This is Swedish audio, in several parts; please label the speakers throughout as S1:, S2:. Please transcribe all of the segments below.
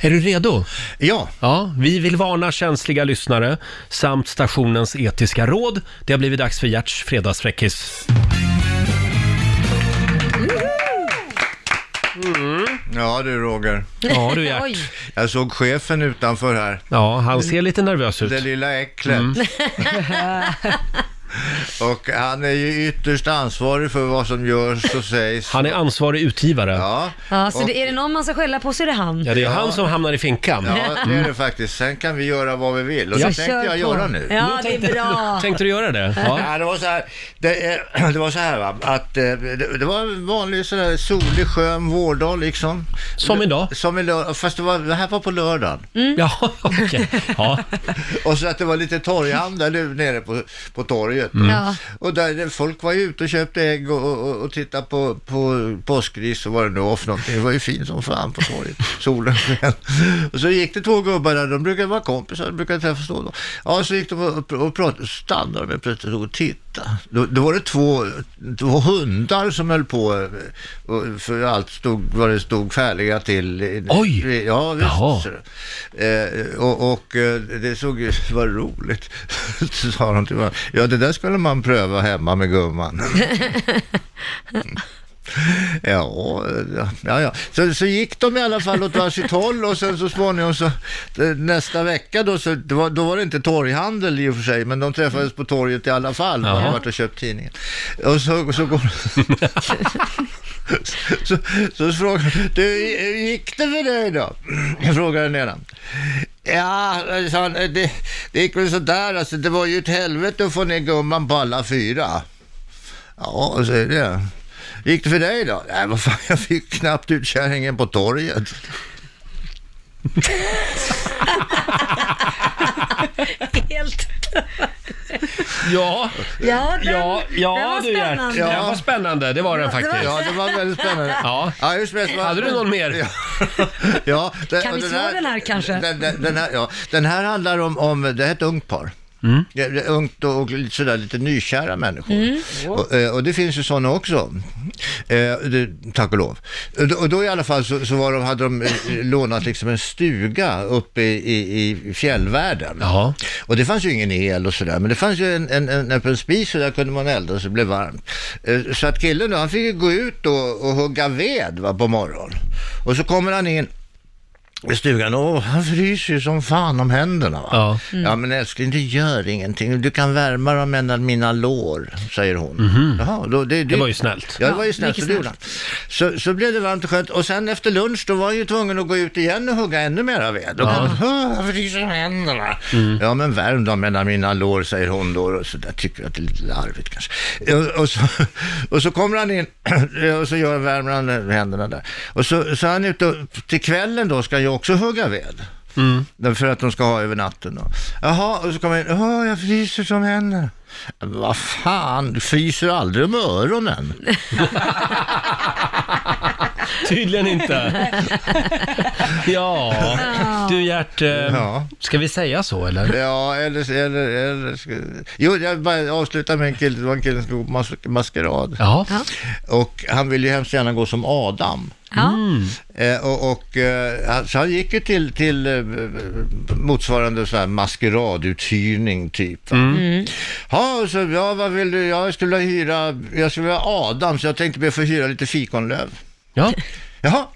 S1: Är du redo?
S2: Ja,
S1: Ja, vi vill varna känsliga lyssnare samt stationens etiska råd. Det har blivit dags för Gerts fredagsfräckis.
S2: ja du Roger.
S1: Ja du Gert.
S3: Oj.
S2: Jag såg chefen utanför här.
S1: Ja, han ser lite nervös
S2: Det
S1: ut.
S2: lilla äcklet.
S1: Mm.
S2: och han är ju ytterst ansvarig för vad som görs och sägs.
S1: Han är ansvarig utgivare. Ja,
S2: Ja,
S3: Ja, så
S2: Och-
S3: det, är det någon man ska skälla på så är det han.
S1: det är han som hamnar i finkan.
S2: ja, det är
S1: Mm.
S2: det faktiskt. Sen kan vi göra vad vi vill och det
S3: Så
S2: tänkte
S3: kör
S2: jag
S3: på.
S2: göra nu.
S3: Ja, det är bra.
S1: Tänkte du göra det? Ja.
S2: Ja, det var så här, det, eh, det var så här va, att eh, det, det var en vanlig så där solig skön vårdag liksom.
S1: Som idag?
S2: Som idag, fast det, var, det här var på lördagen.
S1: Ja, okej. Ja.
S2: Och så att det var lite torghandel nu nere på, på torget.
S3: Ja.
S2: Och där det- folk var ju ute och köpte ägg och, och, och tittade på, på påskgris och vad det nu var för någonting. Det var ju fint som fan på torget. Solen sken. Och så gick det två gubbar där, de brukar vara kompisar, de brukar träffas då och då. Ja, så gick de upp och pratade, stannade de plötsligt och tittade. Då, då var det två, två hundar som höll på, eh, och för allt stod, vad det stod färdiga till. i-
S1: Oj!
S2: Ja, visst.
S1: Jaha.
S2: så Eh, och och eh, det såg ju, vad roligt, så sa de till mig. Ja, det där skulle man pröva hemma med gumman. Ja, eh, ja, ja. Så, så gick de i alla fall åt varsitt håll och sen så småningom så eh, nästa vecka då, så, det var, då var det inte torghandel i och för sig, men de träffades på torget i alla fall.
S1: Jaha.
S2: Ja. Jag varit och köpt tidningen. Och så, så går så, så frågade du, hur gick det för dig då? Jag frågade den ena. Ja, sa han, det, det gick väl sådär alltså. Det var ju ett helvete att få ner gumman på alla fyra. Ja, så är det. Gick det för dig då? Nej, vad fan, jag fick knappt ut kärringen på torget.
S3: Helt.
S1: Ja,
S3: Ja, den,
S1: ja,
S3: den
S1: ja
S3: var
S1: du Gert. Det var spännande,
S3: spännande.
S1: det var den faktiskt.
S2: Ja, det var väldigt spännande.
S1: Ja.
S2: Ja, just det.
S1: Hade du någon mer?
S2: Ja. ja det-
S3: Kan vi
S2: och
S3: slå den här kanske?
S2: Den, den, den, här, ja. den här handlar om, om det här är ett ungt par.
S1: Mm.
S2: Det, det är ungt och, och lite sådär lite nykära människor.
S3: Mm.
S2: Och, eh, och det finns ju sådana också. Eh, det, tack och lov. Och då, och då i alla fall så, så var de, hade de eh, lånat liksom en stuga uppe i, i, i fjällvärlden.
S1: Jaha.
S2: Och det fanns ju ingen el och sådär, men det fanns ju en, en, en öppen spis och där kunde man elda så det blev varmt. Eh, Så att killen då, han fick ju gå ut och, och hugga ved va, på morgonen. Och så kommer han in i stugan och han fryser ju som fan om händerna. Va? Mm.
S1: Ja.
S2: ja men älskling, det gör ingenting. Du kan värma dem mellan mina lår, säger hon. Jaha, då, det,
S1: Mhm. Det var ju snällt.
S2: Ja, det var ju
S3: Ja,
S2: snällt.
S3: mycket
S2: så det gjorde han. Så, så blev det varmt och skönt. Och sen efter lunch, då var han ju tvungen att gå ut igen och hugga ännu mera ved. Och
S1: Ja.
S2: han, "Åh, fryser händerna. Ja, men värm dem mellan mina lår, säger hon då. Och så där tycker jag att det är lite larvigt kanske. Och, och, så, och så kommer han in och så gör, värmer han händerna där. Och så, så är han ute och, till kvällen då ska jag också hugga ved. För att de ska ha över natten då. Jaha, och så kommer jag in. Åh, jag fryser som händerna. Vad fan, du fryser aldrig med öronen.
S1: Tydligen inte. Ja, du Gert, eh,
S2: Ja.
S1: ska vi säga så eller?
S2: Ja, eller... eller, eller ska... Jo, jag vill bara avsluta med en kille. Det var en kille som skulle gå på mas maskerad.
S1: Ja.
S3: Ja.
S2: Och han ville ju hemskt gärna gå som Adam.
S3: Ja.
S1: Mm.
S2: Eh, och, och, eh, han- så han gick ju till, till eh, motsvarande så här maskeraduthyrning typ. Va? Ja, och så, ja, vad vill du? Jag skulle vilja hyra, jag skulle vilja ha Adam, så jag tänkte be att få hyra lite fikonlöv.
S1: ja.
S2: Jaha.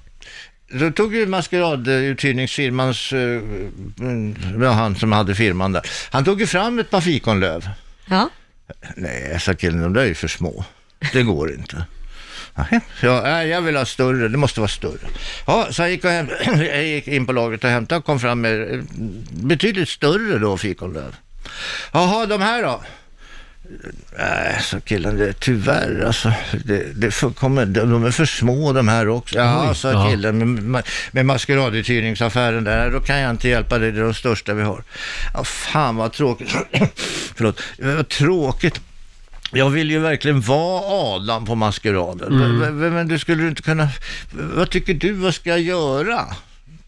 S2: Då tog ju maskeraduthyrningsfirmans, eh, ja, han som hade firman där, han tog ju fram ett par fikonlöv.
S3: Ja.
S2: Nej, sa killen, de där är ju för små. Det går inte. Nej, jag, nej, jag vill ha större, det måste vara större. Ja, så jag gick, och hem, jag gick in på lagret och hämtade och kom fram med eh, betydligt större då fikonlöv. Jaha, de här då? Nej, sa killen, det, tyvärr alltså. Det, det får- kommer, de, de är för små de här också. Ja,
S1: ja.
S2: sa killen med, ma- med maskeraduthyrningsaffären där. "Nej, Då kan jag inte hjälpa dig, det är de största vi har. Ja, fan vad tråkigt. Förlåt, vad tråkigt. Jag vill ju verkligen vara Adam på maskeraden. V- v- Men du skulle inte kunna... Vad tycker du, vad ska jag göra?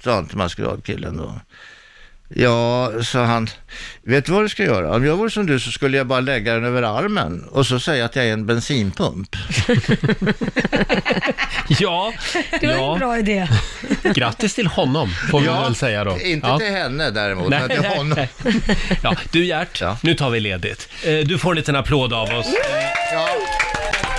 S2: Sa han till maskeradkillen då. Ja, sa han, vet du vad du ska göra? Om jag vore som du så skulle jag bara lägga den över armen och så säga att jag är en bensinpump.
S1: Ja,
S3: Det var en
S1: ja.
S3: bra idé.
S1: grattis till honom får vi väl säga då.
S2: inte
S1: ja.
S2: till henne däremot,
S1: Nej,
S2: men till
S1: nej,
S2: honom.
S1: nej. Ja, du Gert,
S2: Ja.
S1: nu tar vi ledigt. Eh, Du får en liten applåd av oss.
S2: Ja.